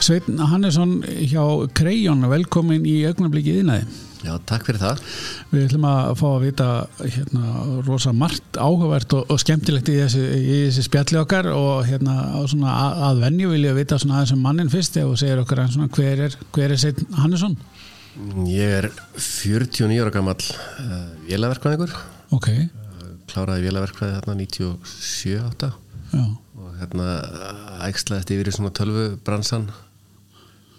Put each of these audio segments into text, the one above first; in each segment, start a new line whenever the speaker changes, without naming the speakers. Sveitn Hannesson hjá Krejón, velkomin í augnablíkið innæði.
Já, takk fyrir það.
Við ætlum að fá að vita hérna, rosa margt áhugavert og, og skemmtilegt í þessi, í þessi spjalli okkar og hérna, á svona, að, að venju vilja vita svona aðeins um mannin fyrst og segir okkar aðeins svona hver er, hver er Sveitn Hannesson?
Ég er 49 ára gammal uh, vélaverkvæðingur,
Ok,
kláraði vélaverkvæði hérna 97-8
já,
og hérna ægslaðist yfir í svona tölvubransan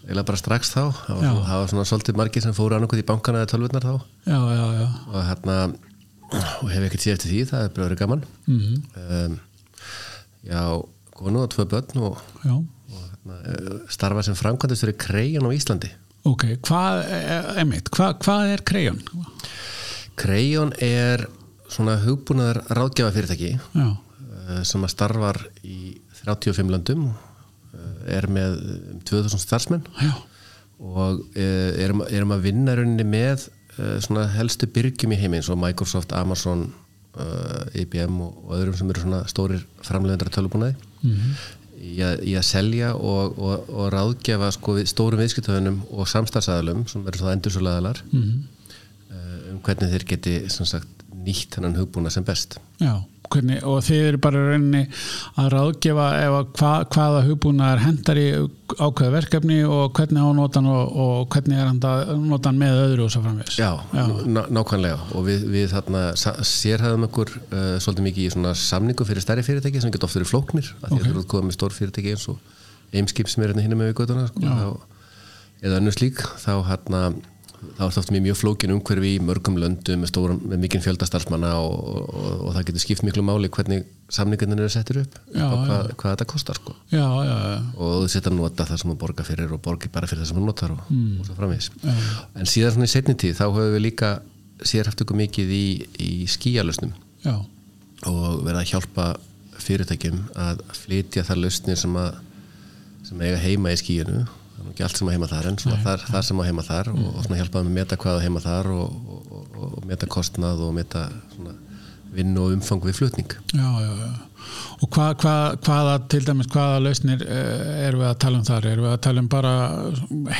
eða bara strax þá, það var,
Já.
svona- það var svona svolítið margir sem fóru annarkoð í bankana eða tölvurnar þá
já, já, já.
og hérna og hef ekkert séð eftir því, það er bara verið gaman
Mm
um, Já, konu og tvö börn og,
já.
og hérna, eh, starfa sem framkvæmdastur í Kreijan á Íslandi
Ok, hvað, eh, einmitt, hvað, hvað er Krejón?
Kreion er svona hugbúnaðar ráðgjafa fyrirtæki
Já,
sem að starfar í 35 landum eh, er með um 2000 starfsmenn
já,
og eh, erum, erum að vinna í rauninni með eh, svona helstu byrgjum í heiminn svo Microsoft, Amazon, eh, IBM og, og öðrum sem eru svona stórir framleiðendra tölubúnaði
Mhm.
í, að, í að selja og, og, og ráðgjafa sko við stórum viðskiptöðunum og samstarfsæðalum sem eru svona endursöluðalar mm um hvernig þeir geti sem sagt nýtt hennan hugbúna sem best
já. Hvernig, og þið eru bara í rauninni að ráðgefa ef að hva, hvaða hugbúnaðar hendar í ákveða verkefni og hvernig á notan og, og hvernig er handa, notan með öðru og svo framvegis.
Já, ná- nákvæmlega og við, við þarna sa- sérhæðum okkur uh, svolítið mikið í svona samningu fyrir stærri fyrirtæki sem geta oft verið flóknir af því
Ok.
að þú eru komið með stór fyrirtæki eins og eimskip sem er hérna hinum með við göttuna sko, þá, eða önnur slík þá hérna þá er það oft mjög, mjög flókin umhverfi í mörgum löndum með, stórum, með mikinn fjöldastarfsmanna og, og, og, og það getur skipt miklu máli hvernig samningarnir eru settir upp
Já,
og hvað, hvað þetta kostar sko
já, já, já.
og þú setja að nota það sem þú borgar fyrir og borgi bara fyrir það sem þú notar og,
Hmm.
og svo framvegis en síðan svona í setni tíð þá höfum við líka sérhaft ykkur mikið í, í skíalusnum
já.
og verða að hjálpa fyrirtækjum að flytja þar lausnir sem, að, sem eiga heima í skíinu það er nú ekki allt sem að heima þar en svona þar, þar sem að heima þar og, og svona hjálpa þeim að meta hvað að heima þar og, og, og, og meta kostnað og meta svona vinnu og umfang við flutning
Já, já, já. Og hva, hva, hvaða, til dæmis, hvaða lausnir eh, erum við að tala um þar? Erum við að tala um bara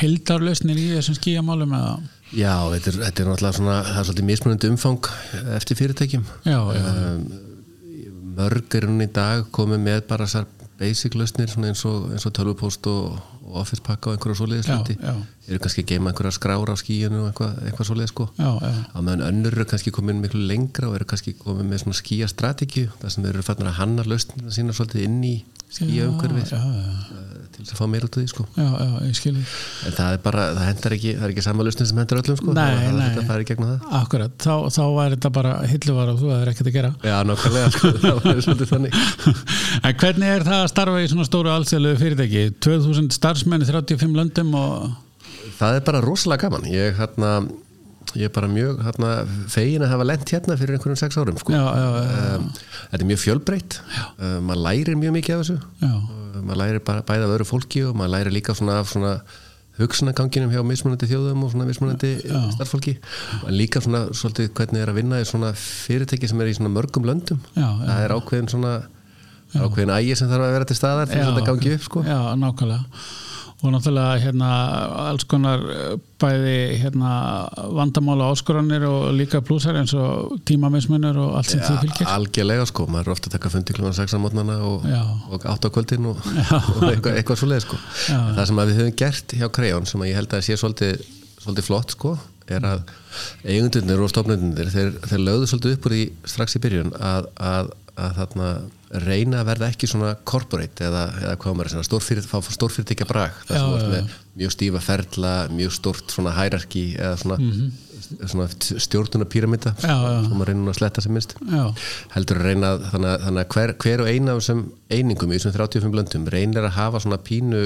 heldarlausnir í þessum skíamálum eða?
Já, þetta er, þetta er náttúrulega svona, það er svolítið mismunandi umfang eftir fyrirtækjum.
Já, já,
Um, mörg er hún í dag komið með bara þessar basic lausnir svona eins og, eins og tölvupóst og, og office pakka og einhverja svoleiðis
Já,
hluti.
já.
Eru kannski að geima einhverja skrár á skíinu og eitthvað, eitthvað svoleiðis sko.
já, já.
Á meðan önnur eru kannski komin miklu lengra og eru kannski komin með svona skíastrategju þar sem þeir eru fannir að hanna lausnina sína svolítið inn í skíaumhverfið
Já, já,
eh, til þess að fá meira út af því sko.
já, já, ég skilji.
En það er bara, það hendar ekki, það er ekki samanlustin sem hendar öllum sko.
Nei,
það, það,
nei.
Þetta færi gegnum það.
Akkurat, þá, þá var þetta bara hilluvar og þú hefur ekkert að gera.
Já, nákvæmlega, sko, það var svolítið þannig.
En hvernig er það að starfa í svona stóru alþjóðlegu fyrirtæki? 2000 starfsmenn í 35 löndum og...
Það er bara rosalega gaman. Ég, hérna, ég er bara mjög hérna, fegin að hafa lent hérna fyrir einhverjum sex árum, sko.
Já, já, já, já.
Um, þetta er mjög fjölbreytt. Uh, maður lærir mjög mikið af þessu.
já.
Uh, maður lærir bara bæði af öðru fólki og maður lærir líka svona af svona hugsunaganginum hjá mismunandi þjóðum og svona mismunandi starffólki en líka svona svolítið hvernig er að vinna í svona fyrirtæki sem er í svona mörgum löndum
Já, já.
það er ákveðin svona ákveðin ægi sem þarf að vera til staðar til þess að þetta gangi upp sko
Já, nákvæmlega og náttúrulega hérna alls konar eh, bæði hérna vandamála áskoranir og líka blúsar eins og tímamismunur og allt sem því fylgir
algjörlega sko, maður er ofta að taka fundi klunum 6 á mótnana og,
Já.
og 8 á kvöldin og, og eitthvað, eitthvað svoleið sko. það sem að við höfum gert hjá Krejón sem að ég held að sé svolítið, svolítið flott sko, er að eigundunir og stofnundunir þeir, þeir lögðu svolítið upp úr því strax í byrjun að, að, að þarna reyna að verða ekki svona corporate eða, eða hvað maður er svona stórfyrir, fá stórfyrirtækja brag það sem
Já,
þú ert
já,
með mjög stífa ferla, mjög stórt svona hærarki eða svona, svona stjórnuna píramita
Mhm. Já, já.
sem maður reynir nú að sletta sem minnst
Já,
heldur að reyna að- þannig, að- þannig að hver, hver og eina af þessum einingum í þessum 35 löndum reynir að hafa svona pínu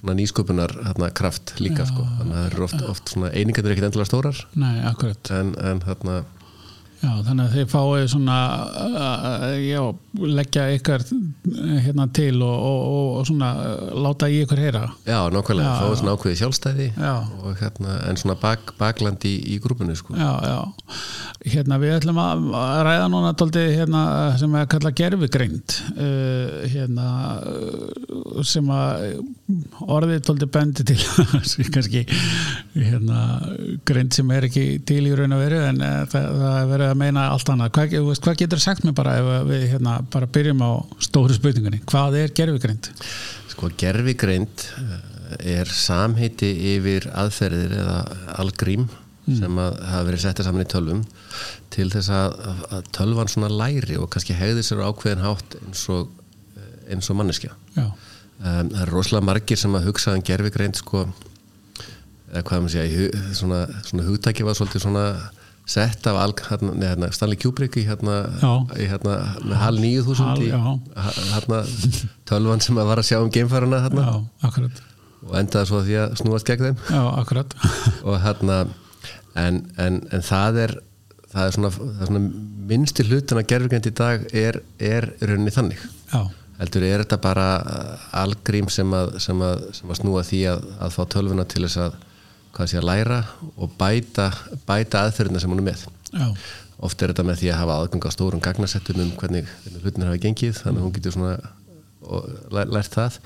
svona nýsköpunar þarna, kraft líka sko. þannig að það eru oft, oft svona einingarnir ekkert endilega stórar
nei, akkurat
en, en þarna
Já, þannig að þið fáið svona eh, já, leggja ykkar eh, hérna til og, og, og, og svona eh, láta í ykkur heyra
já, nákvæmlega, þá er svona ákveðið sjálfstæði
Já.
og hérna, en svona bak, baklandi í, í grúpinu sko.
Já, já. Hérna við ætlum að að ræða núna daldi hérna sem er að kalla gerfugreind uh, hérna uh, sem að orðið tóldi bendi til þess, kannski hérna, grind sem er ekki til í raun og veru en eh, það, það er verið að meina allt annað hvað, þú veist, hvað getur sagt mér bara ef að við hérna, bara byrjum á stóru spurningunni hvað er gerfugrind?
Sko gerfigreind eh, er samheiti yfir aðferðir eða algrím sem að hafa verið settir saman í tölvum til þess að, að tölvan svona læri og kannski hegði sér á ákveðin hátt eins og, eh, eins og manneskja.
Já,
Um, það er rosalega margir sem að hugsa um gerfigreind sko eða hvað maður segja, í hu- svona, svona hugtæki var svolítið svona sett af alg, hérna, nei, hérna, Stanley Kubrick í hérna,
Já.
í hérna með HAL 9000
Hal,
í,
já.
ha- hérna, tölvan sem að var að sjá um geimfærana hérna,
já, akkurat
og endaði svo á því að snúast gegn þeim
já, akkurat
og hérna en, en, en það er það er svona, það er svona minnsti hlutin að gerfugend í dag er, er í rauninni þannig
já,
heldur er þetta bara eh, algrím sem að, sem að, sem að snúa því að, að fá tölvuna til þess að hvað sé að læra og bæta, bæta aðferðina sem hún er með
já,
oft er þetta með því að hafa aðgang á stórum gagnasettum um hvernig hlutinir hafa gengið þannig að hún getur svona og læ- lært það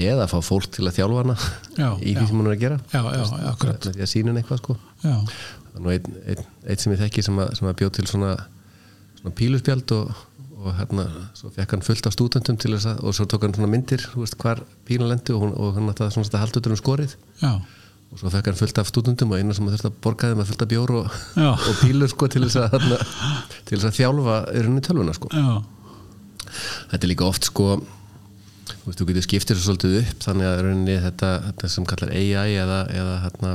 eða fá fólk til að þjálfa hana
Já,
í því
já.
sem hún er að gera
já, já, akkurat
með því að sína henni eitthvað sko
já,
það er nú einn ein, ein sem ég þekki sem að, sem að bjóð til svona, svona píluspjald og, og hérna svo fekk hann fullt af stúdendum til þess að og svo tók hann svona myndir, þú veist, hvar pílan lendi og, hún, og hann átti að svona að halda út um skorið
já,
og svo fekk hann fullt af stúdendum og eina sem þurfti að borga þeim að fullt af bjór og,
Já.
og pílu sko til þess að, hérna, til þess að þjálfa erunni tölvuna sko
já
þetta er líka oft sko þú veist, þú getur skiptir svo svolítið upp þannig að í rauninni þetta, þetta sem kallar AI eða, eða hérna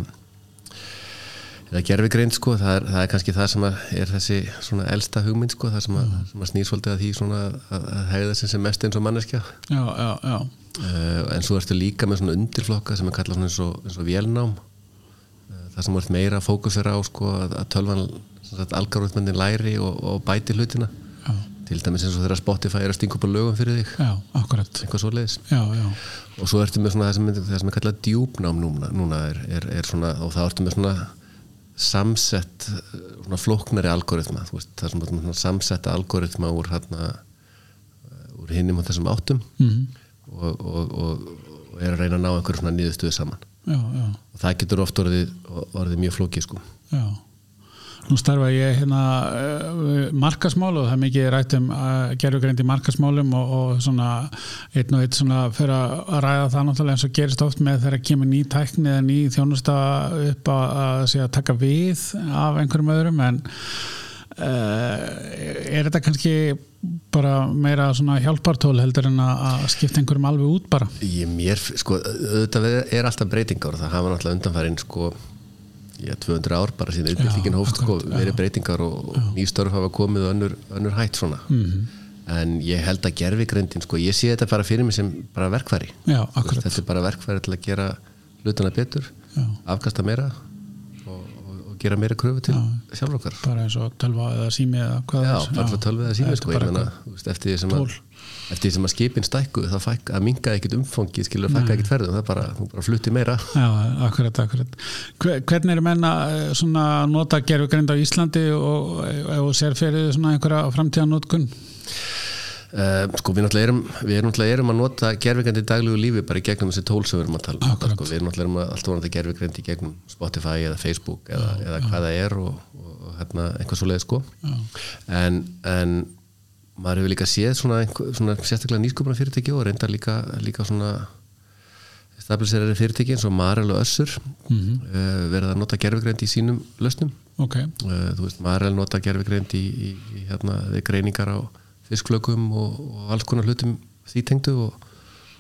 eða gerfigreind sko, það er, það er kannski það sem að er þessi svona elsta hugmynd sko, það sem að, sem að snýr svolítið að því svona að, að hegða sem sem mest eins og manneskja uh,
já, já, já,
en svo ertu líka með svona undirflokka sem er kallað svona eins og, eins og vélnám uh, það sem þú ert meira að fókusera á sko, að, að tölvan algarúðmyndin læri og, og bæti hlutina
já,
til dæmis eins og þegar Spotify er að stinga upp á lögum fyrir þig
já, akkurat
eitthvað svoleiðis
já, já,
og svo ertu með svona það sem, það sem er kallað djúpnám núna, núna er, er, er svona, og það ertu með svona samsett eh, svona flóknari algoritma þú veist, það sem er svona samsetta algoritma úr hérna eh, úr hinnum og þessum áttum
mhm,
og, og, og, og er að reyna að ná einhverju svona nýðustuði saman
já, já
og það getur oft orðið, orðið mjög flókið sko
Já. Nú starfa ég hérna markasmál og það er mikið rætt um gerðugreind í markasmálum og, og svona einn og einn svona fyrir að ræða það náttúrulega eins og gerist oft með þegar kemur ný tækni eða ný þjónusta upp að, að, sé að taka við af einhverjum öðrum en uh, er þetta kannski bara meira svona hjálpartól heldur en að að skipta einhverjum alveg út bara?
Ég mér, sko, auðvitað er alltaf breytingar og það hafa náttúrulega undanfærin sko, já, 200 ár bara síðan uppbyggingin hófst, sko,
akkurat, já. Mm.
verið breytingar og nýstörf hafa komið og önnur, önnur hætt svona -hmm. en ég held að gerfigrindin, sko, ég sé þetta bara fyrir mig sem bara verkfæri
Já,
Þú veist,
akkurat.
þetta er bara verkfæri til að gera hlutana betur,
Já.
afkasta meira og, og, og gera meira kröfu til sjálfur okkar
Bara eins og tölva eða sími eða hvað
Já,
það er.
alltaf tölvið að síma
Þetta
sko,
er
ég
bara
meina, þú veist, eftir því sem að,
Tól.
eftir því sem að skipin stækkuðu það fæk, að minga ekkit umfangið, skilur að fækka ekkit ferðum, það bara, hún bara flutti meira.
Já, akkurat, akkurat. Hve- Hvernig eru menna svona nota gerfugrind á Íslandi og, eh, og sér fyrir þið svona einhverja framtíðanótkun?
Uh, sko, við náttúrulega erum, við erum, náttúrulega erum að nota gerfigrænd í daglegu lífi bara í gegnum þessi tól sem við erum að tala um.
Akkurat.
Sko, við erum náttúrulega erum að- alltaf að nota gerfigrænd í gegnum Spotify eða Facebook eða, eða hvað það er og, og, og hérna, eitthvað svo sko. En, en maður hefur líka séð svona, einhver, svona sérstaklega nýskupna fyrirtæki og reyndar líka, líka svona stabiliserari fyrirtæki eins og Marel og Össur uh, verið að nota gerfigrænd í sínum lösnum
Ok,
uh, þú veist, Marel nota gerfigreind í, í, í hérna, við greiningar á fisklökum og, og alls konar hlutum því tengdu og,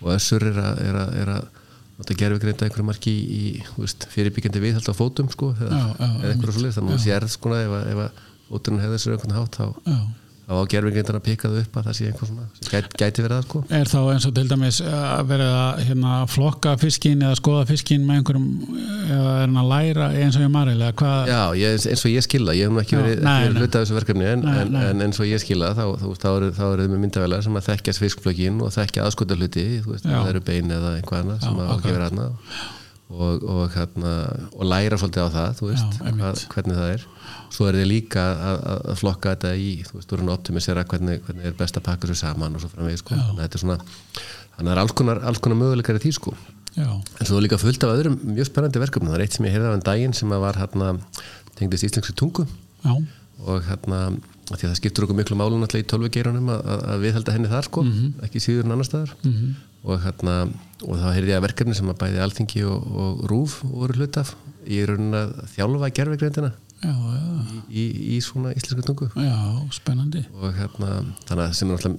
og össur er að, er að, er að nota gerfigreind að einhverju marki í, í þú veist, fyrirbyggjandi viðhald á fótum sko, eða,
Já, já,
eða einhverju svoleiðis, þannig að þú sérð sko, ef, að- ef að fóturinn hefði sér einhvern hátt þá,
já.
þá á gerfigreindar að pikka þau upp að það sé einhver svona, sem gæti, gæti verið að sko
Er þá eins og til dæmis eh, að vera að hérna, flokka fiskin eða skoða fiskin með einhverjum eh, eða er hann að læra eins og ég maril eða hvað?
Já, ég, eins- eins og ég skila, ég hef nú ekki
Já,
verið,
nei,
ekki verið
nei.
hluta af þessu verkefni en,
Nei,
en,
nei.
en eins og ég skila þá, þá, þá, eru, þá eru þau með myndavælar sem að þekkja fiskflökin og þekkja aðskota hluti þú veist,
Já.
það eru bein eða einhvað annað sem
Já,
að
akkurat.
okkur vera annað og, og, hérna, og læra svolítið á það þú veist,
Já, einmitt.
hvað, hvernig það er svo eru þau líka að, að- að flokka þetta í þú veist, þú eru að optimisera hvernig, hvernig er best að pakka þessu saman og svo framvegis sko. þannig að þetta er svona þannig að það er alls konar, alls konar möguleikar í því sko
já,
En svo er líka fullt af öðrum mjög spennandi verkefnum. Það er eitt sem ég heyrði af en daginn sem að var hérna, tengdist íslenski tungu
já,
og hérna, af því að það skiptur okkur miklu málun alltaf í tölvugeirunum að, að- að viðhalda henni þar sko,
Mhm.
ekki síður en annar staðar. -hmm. Og hérna, og þá heyrði ég að verkefni sem að bæði Alþingi og, og Rúf voru hlut af í raunin að þjálfa gerfegreindina
já, já,
í, í, í svona íslenska tungu.
já, spennandi.
Og hérna, þannig að sem er alltaf,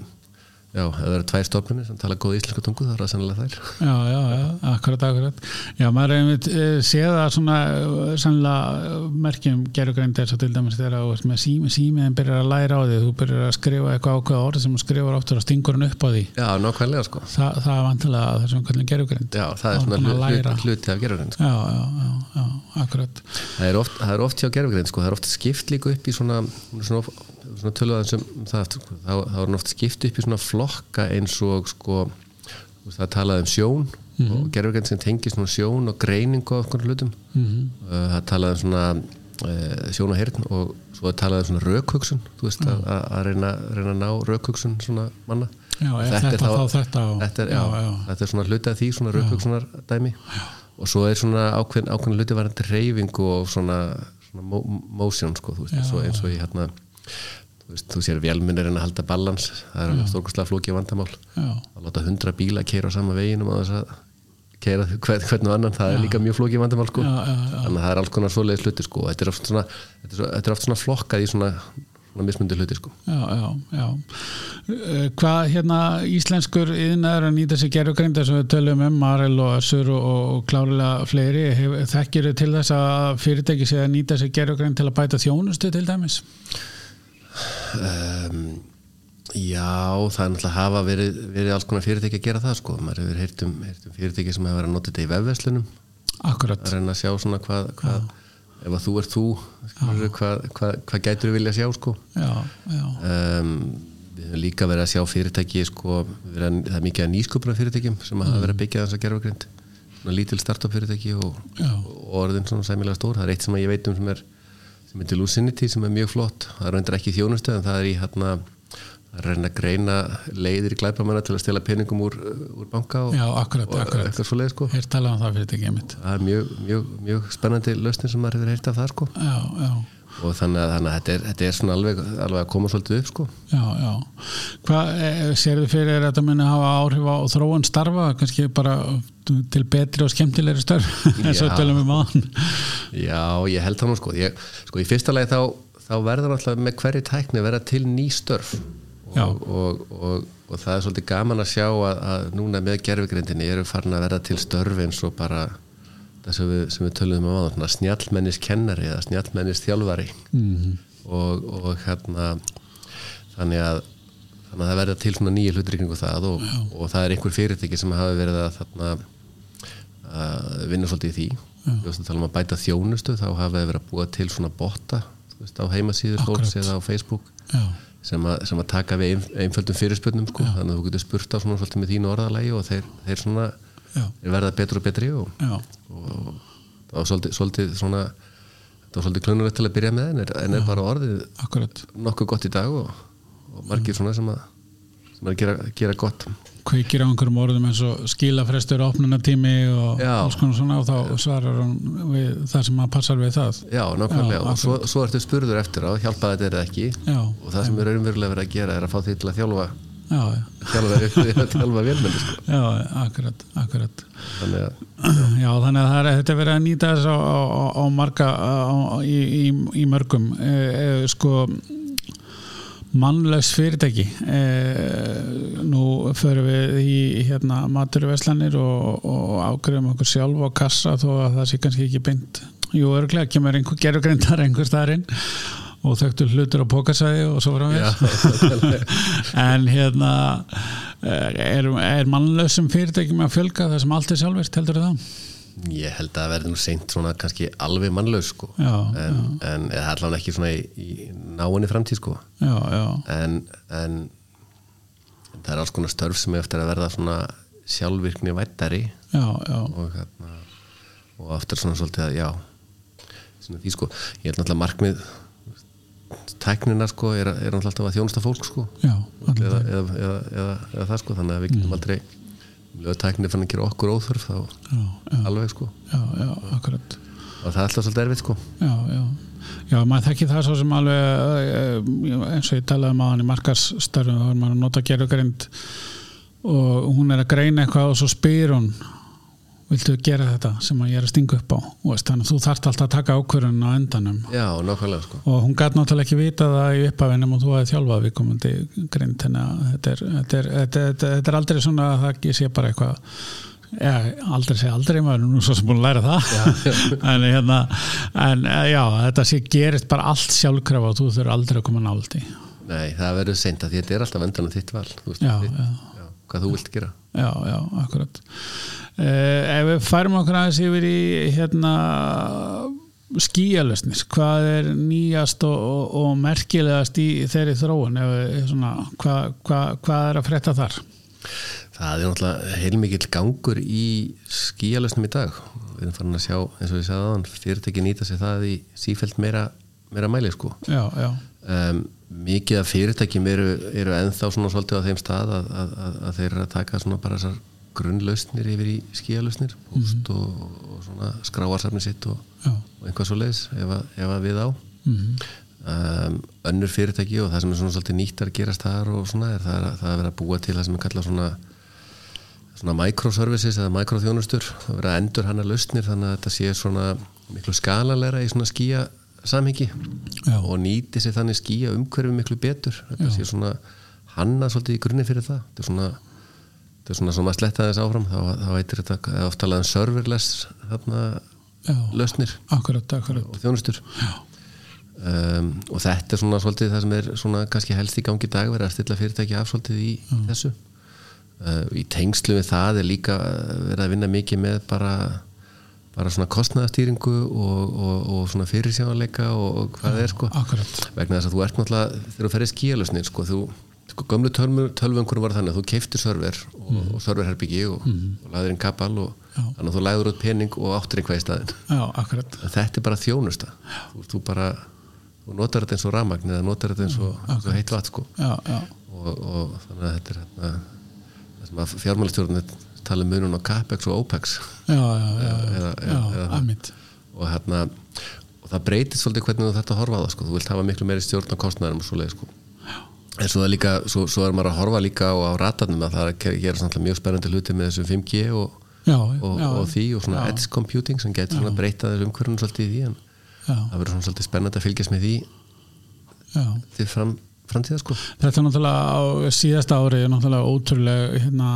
já, ef það eru tvær stofnunir sem tala góð íslenska tungu, það eru að sennilega þær.
Já, já, já, akkurat, akkurat. Já, maður er einmitt eh, séð að svona eh, sannlega eh, merkjum gerugreind er svo til dæmis þegar þú ert með sími, símiðin byrjar að læra á því, þú byrjar að skrifa eitthvað ákveða orð sem þú skrifar oftur og stingur hann upp á því.
Já, nákvæmlega sko.
Þa, það er vantilega þessum hvernig gerugreind.
Já, það
Þá
er
er
svona
búin að
hluti,
læra.
hluti af gerfugreind sko.
Já, já, já, já, akkurat.
það, er oft, það er oft hjá gerfugreind sko. það er oft skipt líka upp í svona svona, svona tölvaðan sem það aftur sko. þá, þá er hann oft skipt upp í svona flokka eins og sko þú veist, það er talað um sjón og gerfugreind sem tengir svona sjón og greiningu á okkur hlutum mm
Mhm.
-hmm. það er talað um svona eh, sjón og heyrn og svo er talað um svona rökhugsun þú veist að, að, að reyna, reyna að ná rökhugsun svona manna
Já,
Og
er þetta þá þetta og-
þetta er, já,
já, já.
þetta er svona hluti af því svona rauðhugsunar dæmi og svo er svona ákveðin, ákveðin hluti varandi reyfingu og svona, svona mo- motion sko, þú veist, eins og, eins og ég hérna þú veist, þú sér vélminnirinn að halda balans það er alveg stórkustlega flókið vandamál
Já,
að láta hundra bíla keira á sama veginum að þess að keira hvern, hvern og annan það er líka mjög flókið vandamál sko
já, já, já,
þannig að það er alls konar svoleiðis hluti sko og þetta er oft svona, þetta er, svo- þetta er oft svona flokkað í svona, svona mismundi hluti sko
já, já, já. Eh, Hvað hérna íslenskur yðnaður að nýta sér gerugreind þess að við tölum um Marel og Össur og, og, og klárlega fleiri hef, þekkir þau til þess að fyrirtæki sé að nýta sér gerugreind til að bæta þjónustu til dæmis?
Um, já, það er náttúrulega hafa verið, verið alls konar fyrirtæki að gera það sko. maður hefur heyrt um, heyrt um fyrirtæki sem hefur verið að nota þetta í vefveslunum
Akkurat,
að reyna að sjá svona hvað, hvað ef að þú ert þú skilurðu, hvað, hvað, hvað gætur við vilja sjá sko.
já, já,
um, við höfum líka verið að sjá fyrirtæki sko, verið að, það er mikið að nýsköpuna fyrirtækjum sem hafa verið að byggja þess að gerfa grind svona lítil startup fyrirtæki og,
Já.
og orðin svona sæmilega stór það er eitt sem að ég veit um sem er sem heitir Lucinity sem er mjög flott það er undir ekki í þjónustu en það er í hérna að reyna að greina leiðir glæpamanna til að stela peningum úr, úr banka og,
já, akkurat,
og
akkurat.
eitthvað svo leið sko
Hér talað um það fyrirtækið mitt.
það er mjög, mjög, mjög spennandi löstin sem maður hefur heyrt af það sko
Já, já.
og þannig að, þannig að þetta, er, þetta er svona alveg, alveg að koma svolítið upp sko
Já, já. Hvað eh, sérðu fyrir þér að þetta muni hafa áhrif á þróun starfa, kannski bara til betri og skemmtilegri störf, eins og
Já.
tölum um við maðan?
Já, ég held það nú sko ég, sko í fyrsta lagi þá, þá verður alltaf með hverju tækni verða til ný störf
Já.
og, og, og, og það er svolítið gaman að sjá að, að núna með gerfugrindinni eru farin að verða til störf eins og bara það sem við, sem við töluðum um áðan snjallmennis kennari eða snjallmennis þjálfari
Mhm.
-hmm. og, og hérna þannig að þannig að það verða til svona nýja hlutir í kringum það og, og það er einhver fyrirtæki sem hafi verið að þarna að vinna svolítið í því þú veist að tala um að bæta þjónustu þá hafa þeir verið að búa til svona botta þú veist, á heimasíður fólks eða á Facebook
Já,
sem að, sem að taka við einf- einföldum fyrirspurnum sko. þannig að þú getur spurt á svona svolítið með þínu orðalagi og þeir, þeir svona
já,
þeir verða betri og betri og,
já.
og það var svolítið, svolítið svona það var svolítið klunulegt til að byrja með en er, en er bara orðið
Akkurat,
nokkuð gott í dag og, og margir svona sem að sem er að gera, gera gott
kveikir á einhverjum orðum eins og skilafrestur opnunatími og
Já.
alls konar svona og þá svarar hann við það sem að passar við það
Já, nákvæmlega,
Já,
og svo, svo ertu spurður eftir á, hjálpaði þetta er eða ekki
Já,
og það sem er raunverulega verið að gera er að fá því til að þjálfa
já,
þjálfa, þjálfa vélmenni sko.
já, akkurat, akkurat
þannig að
Já, þannig að það er þetta er verið að nýta þess á, á, á- á marga á, á- í, í, í mörgum e, e, sko mannlaus fyrirtæki e, nú förum við í hérna maturveslanir og, og ágreifum okkur sjálf á kassa þó að það sé kannski ekki beint Jú, örglega kemur einhver gerugrindar einhver staðarinn og þekktu hlutur á pókasæði og svo frá mér en hérna eh, er, er mannlausum fyrirtækjum að fjölga það sem allt er sjálfvirt, heldur það?
ég held að það verði nú seint svona kannski alveg mannlaus sko.
Já,
en, en eða allan ekki svona í, í náinni framtíð sko.
já, já,
en, en það er alls konar störf sem er eftir að verða svona sjálfvirkni vættari
já, já,
og, hérna, og aftur svona svolítið að já svona því sko, ég held náttúrulega markmið tæknina sko er, er náttúrulega alltaf að þjónusta fólk sko
já, já, Mm.
eða, eða, eða, eða, eða það sko þannig að við getum aldrei Ef tæknin er fann að gera okkur óþörf þá
já, já,
alveg sko
já, já, akkurat
og það er alltaf svolítið erfitt sko
já, já Já, maður þekki það svo sem alveg eh, eins og ég talaði um aðan í markarsstörfum þá er maður að nota gerugreind og hún er að greina eitthvað og svo spyr hún viltu gera þetta sem að ég er að stinga upp á Þú veist, þannig að þú þarft alltaf að taka ákvörun á endanum
Já, nákvæmlega sko
og hún gæti náttúrulega ekki vita það í uppafinnum og þú hafði þjálfað við komandi grind þannig að þetta er, þetta er, þetta er, þetta er, þetta er aldrei svona að það ég sé bara eitthvað eða, aldrei segja aldrei maður er nú svo sem búin að læra það en, hérna, en eh, já, þetta sé gerist bara allt sjálfkrafa og þú þurfur aldrei að koma náldi já,
Nei, það verður seint að því þetta er alltaf endan á þitt val þú veist,
Já,
þitt,
já.
Já, hvað þú vilt gera
já, já, akkurat uh, ef við færum okkur aðeins yfir í hérna skíalösnis, hvað er nýjast og, og, og merkilegast í þeirri þróun ef, við- svona, hva, hva, hvað er að frétta þar
Það er náttúrulega heilmikill gangur í skíalösnum í dag við erum farin að sjá, eins og ég sagði aðan fyrirtæki nýta sér það í sífælt meira, meira mæli sko
já, já,
um, mikið af fyrirtækjum eru, eru ennþá svona svolítið á þeim stað að, að, að, að þeir eru að taka svona bara þessar grunnlausnir yfir í skíalösnir post og, og svona skráarsafni sitt og,
já
og einhvað svo leiðis ef, að- ef að við á
mm
um, önnur fyrirtæki og það sem er svona svolítið nýtt að gerast þar og svona er það, það að vera að búa til það sem er kallað svona svona microservices eða microþjónustur það vera að endur hana lausnir þannig að þetta sé svona miklu skalalera í svona skíja samhengi
Já.
og nýti sér þannig skíja umhverfi miklu betur þetta sé svona hanna svolítið í grunni fyrir það þetta er svona þetta er svona sem að sletta þess áfram þá, þá veitir þetta það er oft talað um serverless þarna
já,
lausnir
akkurat, akkurat
og þjónustur
já,
um, og þetta er svona svolítið það sem er svona kannski helst í gangi í dag verið að stilla fyrirtæki af svolítið í þessu uh, í tengslu við það er líka uh, verið að vinna mikið með bara bara svona kostnaðastýringu og, og, og svona fyrirsjáleika og, og hvað það er sko
akkurat
vegna þess að þú ert náttúrulega þegar þú ferði skíalusni sko, þú, sko gömlu tölvum, tölvungur var þannig að þú keiftir server og, og serverherbyggi og, og laðir inn kapal og
Já.
þannig að þú læður út pening og áttir einhvað í staðinn
já, akkurat,
En þetta er bara þjónusta þú, þú bara, þú notar þetta eins og rafmagn eða notar þetta eins
Mm,
og, eins og heitt vatn sko.
já, já
og, og þannig að þetta er hérna, það sem að fjármálistjórnir tala um munun á CAPEX og OPEX
já, já, já, já,
Eða- eða-
já,
eða-
amitt
og hérna og það breytist svolítið hvernig þú þetta að horfa á það sko. þú vilt hafa miklu meiri stjórn á kostnæðarum og svo leið sko. en svo, er líka, svo, svo er maður að horfa líka á, á ratarnum að það er að gera- gera samt mjög spennandi hluti með þessum 5G og,
já,
og,
já,
og því og svona
já.
edge computing sem getur svona breyta þessu umhverjum svolítið í því en
já,
það verður svona svolítið spennandi að fylgjast með því
já
til fram, framtíða sko
Þetta er náttúrulega á síðasta ári er náttúrulega ótrúlega hérna,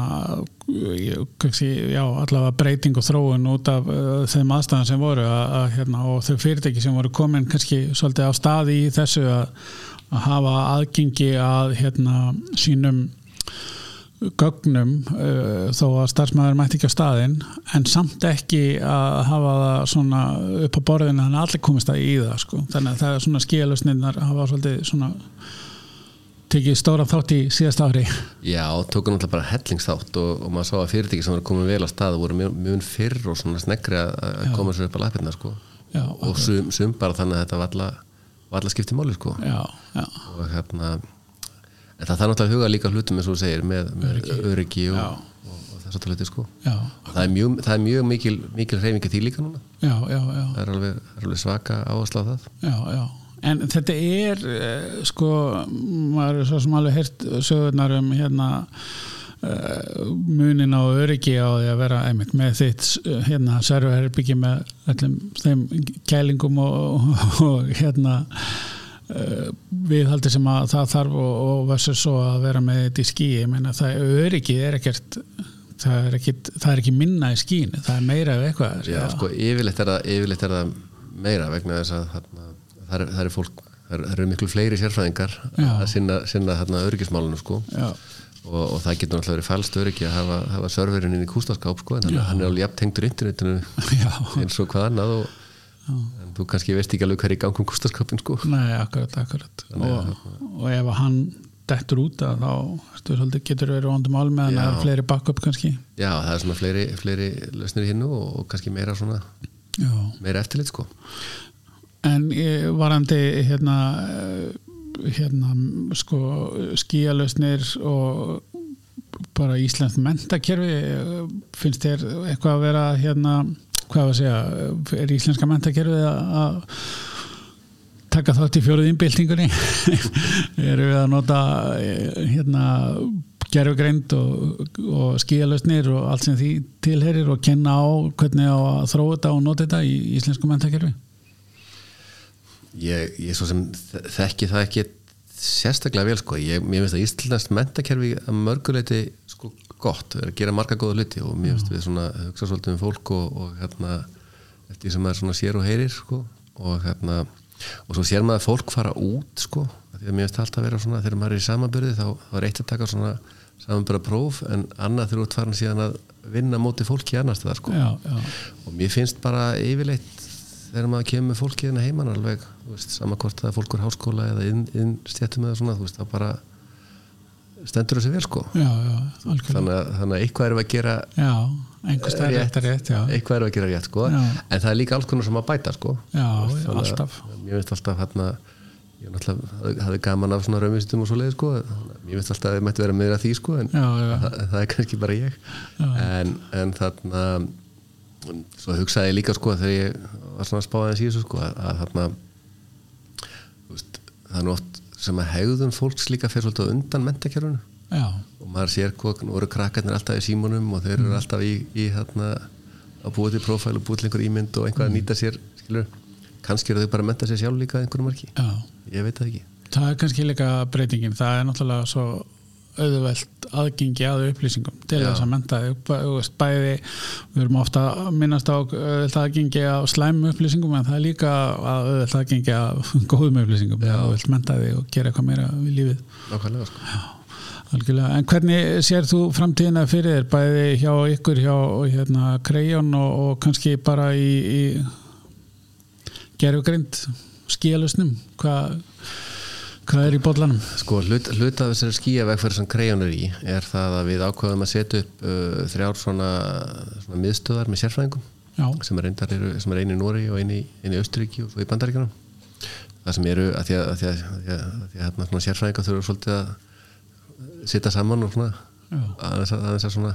ég- kannski, já, allavega breyting og þróun út af uh, þeim aðstæðan sem voru að, að, hérna, og þau fyrirtæki sem voru komin kannski svolítið á staði í þessu að, að hafa aðgengi að hérna, sínum gögnum uh, þó að starfsmæður mætti ekki á staðinn en samt ekki að hafa það svona upp á borðinu þannig að allir komist að í það sko. þannig að það er svona skíalusnirnar hafa svolítið svona tekið stóra þátt í síðast ári
Já, tókum náttúrulega bara hellingsþátt og, og maður sá að fyrirtæki sem voru komin vel á stað voru mjög, mjög fyrr og svona sneggri að að koma sér upp á lappirna sko
já,
og sum, sum bara þannig að þetta valla, valla skipti máli sko
já, já,
og hérna en það þarf náttúrulega að huga líka hlutum eins og þú segir með, með öryggi, og,
Já.
og, og, og þess að hluti sko
já,
það er mjög, það er mjög mikil, mikil reyfingi því líka núna
já, já, já,
það er alveg, það er alveg svaka áhersla á það
já, já. en þetta er eh, sko, maður er svo sem alveg heyrt sögurnar um hérna eh, munin á öryggi á því að vera einmitt með þitt eh, hérna serverherbyggi með allum þeim kælingum og, og, og hérna eh, viðhaldi sem að það þarf og, og versus svo að vera með þetta í skíi ég meina það öryggið er ekkert það er ekki, það er ekki minna í skíinu það er meira ef eitthvað er,
Já, sko, yfirleitt er það, yfirleitt er það meira vegna þess að þarna, þar, er- þar er fólk, þar eru miklu fleiri sérfræðingar að sinna, sinna þarna öryggismálunum sko
Já,
og, og það getur náttúrulega verið falskt öryggi að hafa, hafa serverinn inn í kústaskáp sko en hann, hann er alveg jafn tengdur internetinu
já,
eins og hvað annað og en þú kannski veist ekki alveg hver er í gangum kústaskapin sko
nei, akkurat, akkurat og, og ef að hann dettur út að þá ertu svolítið, getur verið vandum ál með hann
Já.
að hafa fleiri backup kannski
Já, það er svona fleiri, fleiri lausnir hinnu og, og kannski meira svona
Já.
meira eftirlit sko
En eh, varandi hérna eh, hérna sko skíalausnir og bara Íslands mentakerfi finnst þér eitthvað að vera hérna, hvað var að segja er íslenska mentakerfið að- að taka þátt í fjóruð innbyltingunni eru við að nota eh, hérna gerfugreind og, og skíalösnir og allt sem því tilherir og kenna á hvernig á að þróa þetta og nota þetta í íslensku mentakerfi
Ég, ég svo sem þe- þekki það ekki sérstaklega vel sko ég, mér finnst að Íslandast mentakerfi að mörguleiti sko gott, er að gera marga góða hluti og mér finnst við svona hugsa svolítið um fólk og, og hérna eftir því sem maður svona sér og heyrir sko og hérna, og svo sér maður fólk fara út sko, af því að mér finnst alltaf að vera svona þegar maður er í samanbyrði þá, þá er eitt að taka svona samanbyrða próf en annað þurfa út farin síðan að vinna móti fólki annars það sko
já, já,
og mér finnst bara yfirleitt þegar maður kemur með fólki hérna heiman alveg þú veist, sama hvort það er fólkur háskóla eða inn, inn stjættum eða svona þú veist, það bara stendur þessi vel sko
já, já algjörlega,
þannig að, þannig að eitthvað erum við að gera
já, einhvers staðar rétt er rétt, já,
eitthvað erum við að gera rétt sko
Já.
en það er líka alls konar sem að bæta sko
já,
Þannig að-
alltaf
mér finnst alltaf hérna ég náttúrulega hafði- hafði gaman af svona raumvísindum og svo leið sko mér finnst alltaf að við mættu vera meira að því sko en
já, já,
það, það er kannski bara ég en, en þarna svo hugsaði ég líka sko þegar ég var svona að spá aðeins í þessu sko að, að þarna þú veist, það er nú oft sem að hegðun fólks líka fer svolítið á undan mentakerfinu
já,
og maður sér hvað nú eru krakkarnir alltaf í símunum og þeir eru alltaf í, í þarna að búa til prófæl og búa til einhver ímynd og einhvað að nýta sér skilur, kannski eru þau bara að menta sér sjálf líka að einhverju marki,
já
ég veit það ekki
Það er kannski líka breytingin það er náttúrulega svo auðvelt aðgengi að upplýsingum til
Já.
þess að menta þig. Bæ- þú veist, bæði við erum ofta að minnast á auðvelt aðgengi að slæmum upplýsingum en það er líka að auðvelt aðgengi að góðum upplýsingum að auðvelt menta þig og gera eitthvað meira við lífið
nákvæmlega sko
Algjörlega. En hvernig sér þú framtíðina fyrir þér bæði hjá ykkur hjá hérna, Krejón og, og kannski bara í, í gerfugrind skíalusnum hvað, hvað er í bollanum?
Sko, hlut, hlut af þessari skíavegferð sem Crayon er í er það að við ákvaðum að setja upp uh, þrjár svona, svona miðstöðar með sérfræðingum
Já,
sem er, reyndar, eru, sem er einu í Nóri og einu í, einu í Östuríki og svo í Bandaríkjana það sem eru að því að, að, því að, að, því að, að, því að hérna, svona, sérfræðingar þurfa svolítið að sitja saman og svona
já,
aðeins að, aðeins að svona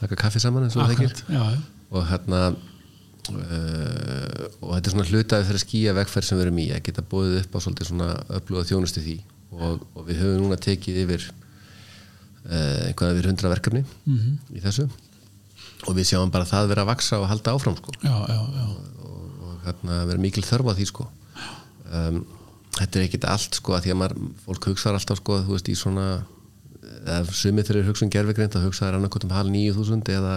taka kaffi saman eins og það
akkurat
ekki
já,
og hérna uh, og þetta er svona hlutaði þegar skýja vegferð sem við erum í að geta bóðið upp á svolítið svona öfluga þjónustu því og, og við höfum núna tekið yfir uh, einhverja yfir hundra verkefni
Mhm.
í þessu og við sjáum bara það vera að vaksa og halda áfram sko
já, já, já,
og, og hérna vera mikil þörf á því sko um, þetta er ekkit allt sko að því að maður, fólk hugsaðar alltaf sko þú veist í svona eða sumið þegar þeir hugsa um gerfigreind þá hugsaðar annarkot um hal 9000 eða,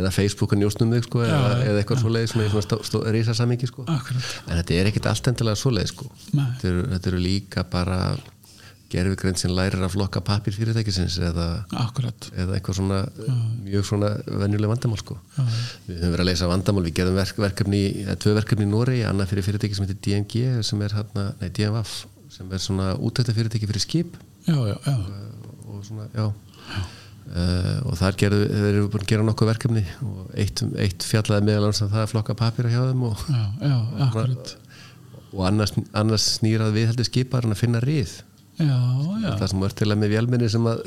eða Facebook að njóstum þig sko eða,
Já, já,
eða eitthvað svoleiðis með svona stó, stó, rísa samingi sko
akkurat
en þetta er ekkit allt endilega svoleiðis sko
Nei.
þetta eru, þetta eru líka bara gerfigreind sem lærir að flokka pappir fyrirtækisins eða
akkurat,
eða eitthvað svona mjög svona venjuleg vandamál sko.
Já.
við höfum verið að leysa vandamál við gerðum verk, verkefni, eða tvö verkefni í Noregi annað fyrir fyrirtæki sem heitir DMG sem er hérna, nei DMF sem er svona útækta fyrirtæki fyrir skip
já, já, já
og svona, já, Uh, og þar gerðu, þeir eru búin að gera nokkuð verkefni og eitt, eitt fjallaði meðalans að það að flokka papir hjá þeim og,
já, já, akkurat
og annars, annars snýrað viðhaldi skipar en að finna rið
já, já,
það sem er til að með vélminni sem, að,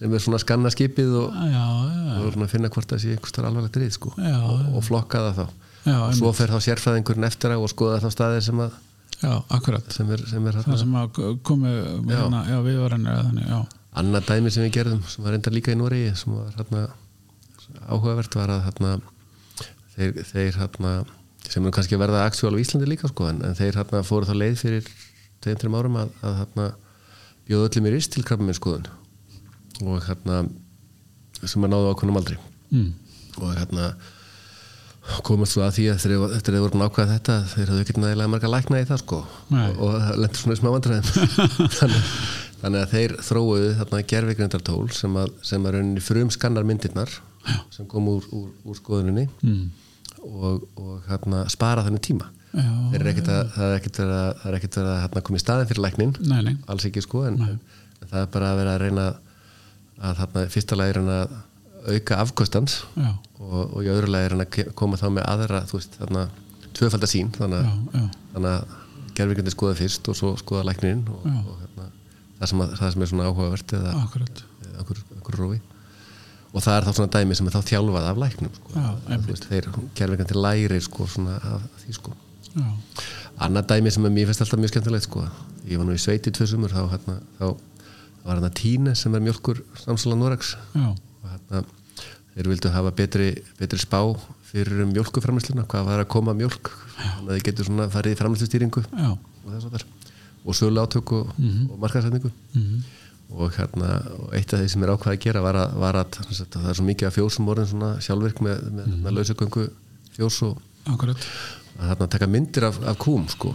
sem er svona að skanna skipið og,
já, já
og svona finna hvort það sé einhvers þar alvarlegt rið sko.
Já,
og, og flokka það þá
já,
og
einmitt.
svo fer þá sérfræðingurinn eftir á og skoða þá staðir sem, að,
já, akkurat
sem er, sem er
það
hérna.
sem að komi hérna, já, við varum þannig, já,
annað dæmi sem við gerðum sem var enda líka í Noregi sem var hérna, áhugavert var að hérna, þeir, þeir hérna, sem eru kannski að verða aktúal á Íslandi líka sko, en, en þeir hérna, fóru þá leið fyrir tveim, tveim árum að, að hérna, bjóða öllum í rist til krabbaminn skoðun og hérna sem að náðu ákvönum aldrei
mm.
og hérna komast svo að því að þeir, eftir að þeir voru nákvæða þetta þeir hafðu ekkert nægilega marga lækna í það sko
Nei.
og, og lendur svona í smá vandræðum þannig, þannig að þeir þróuðu þarna gerfigreindartól sem að, sem að rauninni frum skannar myndirnar sem kom úr, úr, úr skoðuninni
Mm.
og, og hérna spara þannig tíma
já,
þeir eru ekkert að, það er ekkert verið að, það er ekkert verið að hérna, koma í staðin fyrir læknin
nei, nei
alls ekki sko en, en það er bara að vera að reyna að þarna í fyrsta lagi reyna að auka afkostans
já,
og, og í öðru lagi er hann að ke- koma þá með aðra þú veist, þarna, tvöfaldar sín þannig,
já,
að-
já,
þannig að gerfingrindi skoða fyrst og svo skoða læknirinn og,
Já.
og hérna, það, sem að, það sem er svona áhugavert eða
akkurat
eða einhver, einhver rófi og það er þá svona dæmi sem er þá þjálfað af læknum sko.
Já,
Þú veist, þeir kjærleikandi lærir sko, svona af því sko.
já,
Annað dæmi sem er mér finnst alltaf mjög skemmtilegt sko. Ég var nú í sveiti tvö sumur þá, hérna, þá var hann að Tíne sem er mjölkur samsala Noregs
já,
og hérna, þeir vildu hafa betri, betri spá fyrir um mjölkuframlýsluna hvað var að koma mjölk þannig að þeir getur svona farið í framlýslustýringu
já,
og þess að þar og sölu átök og, mm og markaðsætningu og hérna og eitt af því sem er ákvað að gera var að, var að sem sagt, það er svo mikið af fjósum orðin svona sjálfvirk með, með mm -hmm. lausugöngu fjós og
akkurat
að þarna taka myndir af, af kúum sko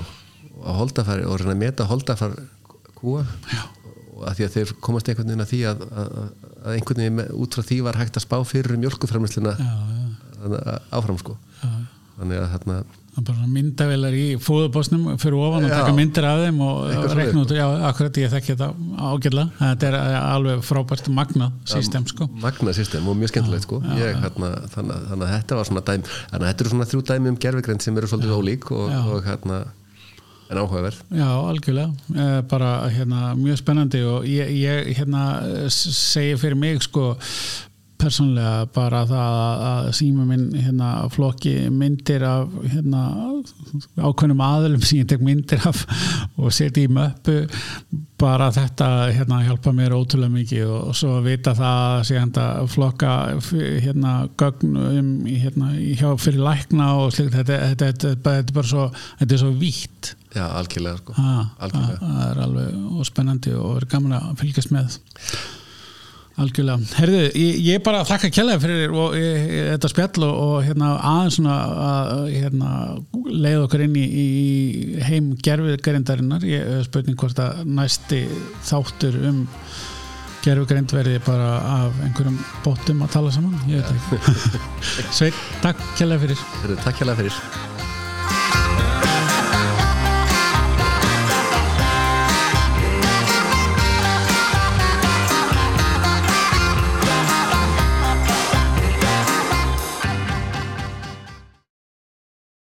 og að holdafari og reyna að meta holdafar kúa og að því að þeir komast einhvern veginn að því að, að, að einhvern veginn með- út frá því var hægt að spá fyrir um mjölkuframlýsluna
já, já,
áfram sko
já.
þannig að þarna
Það er bara svona myndavélar í fóðubosnum fyrir ofan og
Já.
taka myndir af þeim og
Eitthvað
reikna út, já, akkurat ég þekki þetta ágætlega, þetta er eh, alveg frábært magnað system, sko
magna system og mjög skemmtilegt sko ég, hérna, þannig, að- þannig að þetta var svona dæmi þannig að þetta eru svona þrjú dæmi um gerfigrind sem eru svolítið ólík og, og hérna en áhugaverð
Já, algjörlega, Eh, bara hérna mjög spennandi og ég, ég hérna eh, s- segi fyrir mig sko persónlega bara það að- að síma minn hérna flokki myndir af hérna ákveðnum aðlum sem ég tek myndir af og setja í möppu bara þetta hérna hjálpa mér ótrúlega mikið og, og svo að vita það sé hægt að flokka f- hérna gögn um í- hérna í- hjá fyrir lækna og slikt þetta, þetta, þetta, þetta, þetta er bara svo þetta er svo vítt
já, algjörlega sko
Ha,
Algjörlega.
ha, það er alveg og spennandi og er gaman að fylgjast með algjörlega Herðu, ég, ég bara þakka kjærlega fyrir og, ég, ég, þetta spjall og, og hérna, aðeins svona að hérna, leið okkur inn í, í heim gerfugrindarinnar ég eh, spurning hvort að næsti þáttur um gerfugrind verði bara af einhverjum bóttum að tala saman ég veit það ekki Sveit, takk kjærlega fyrir
Heyrðu, takk hérlega fyrir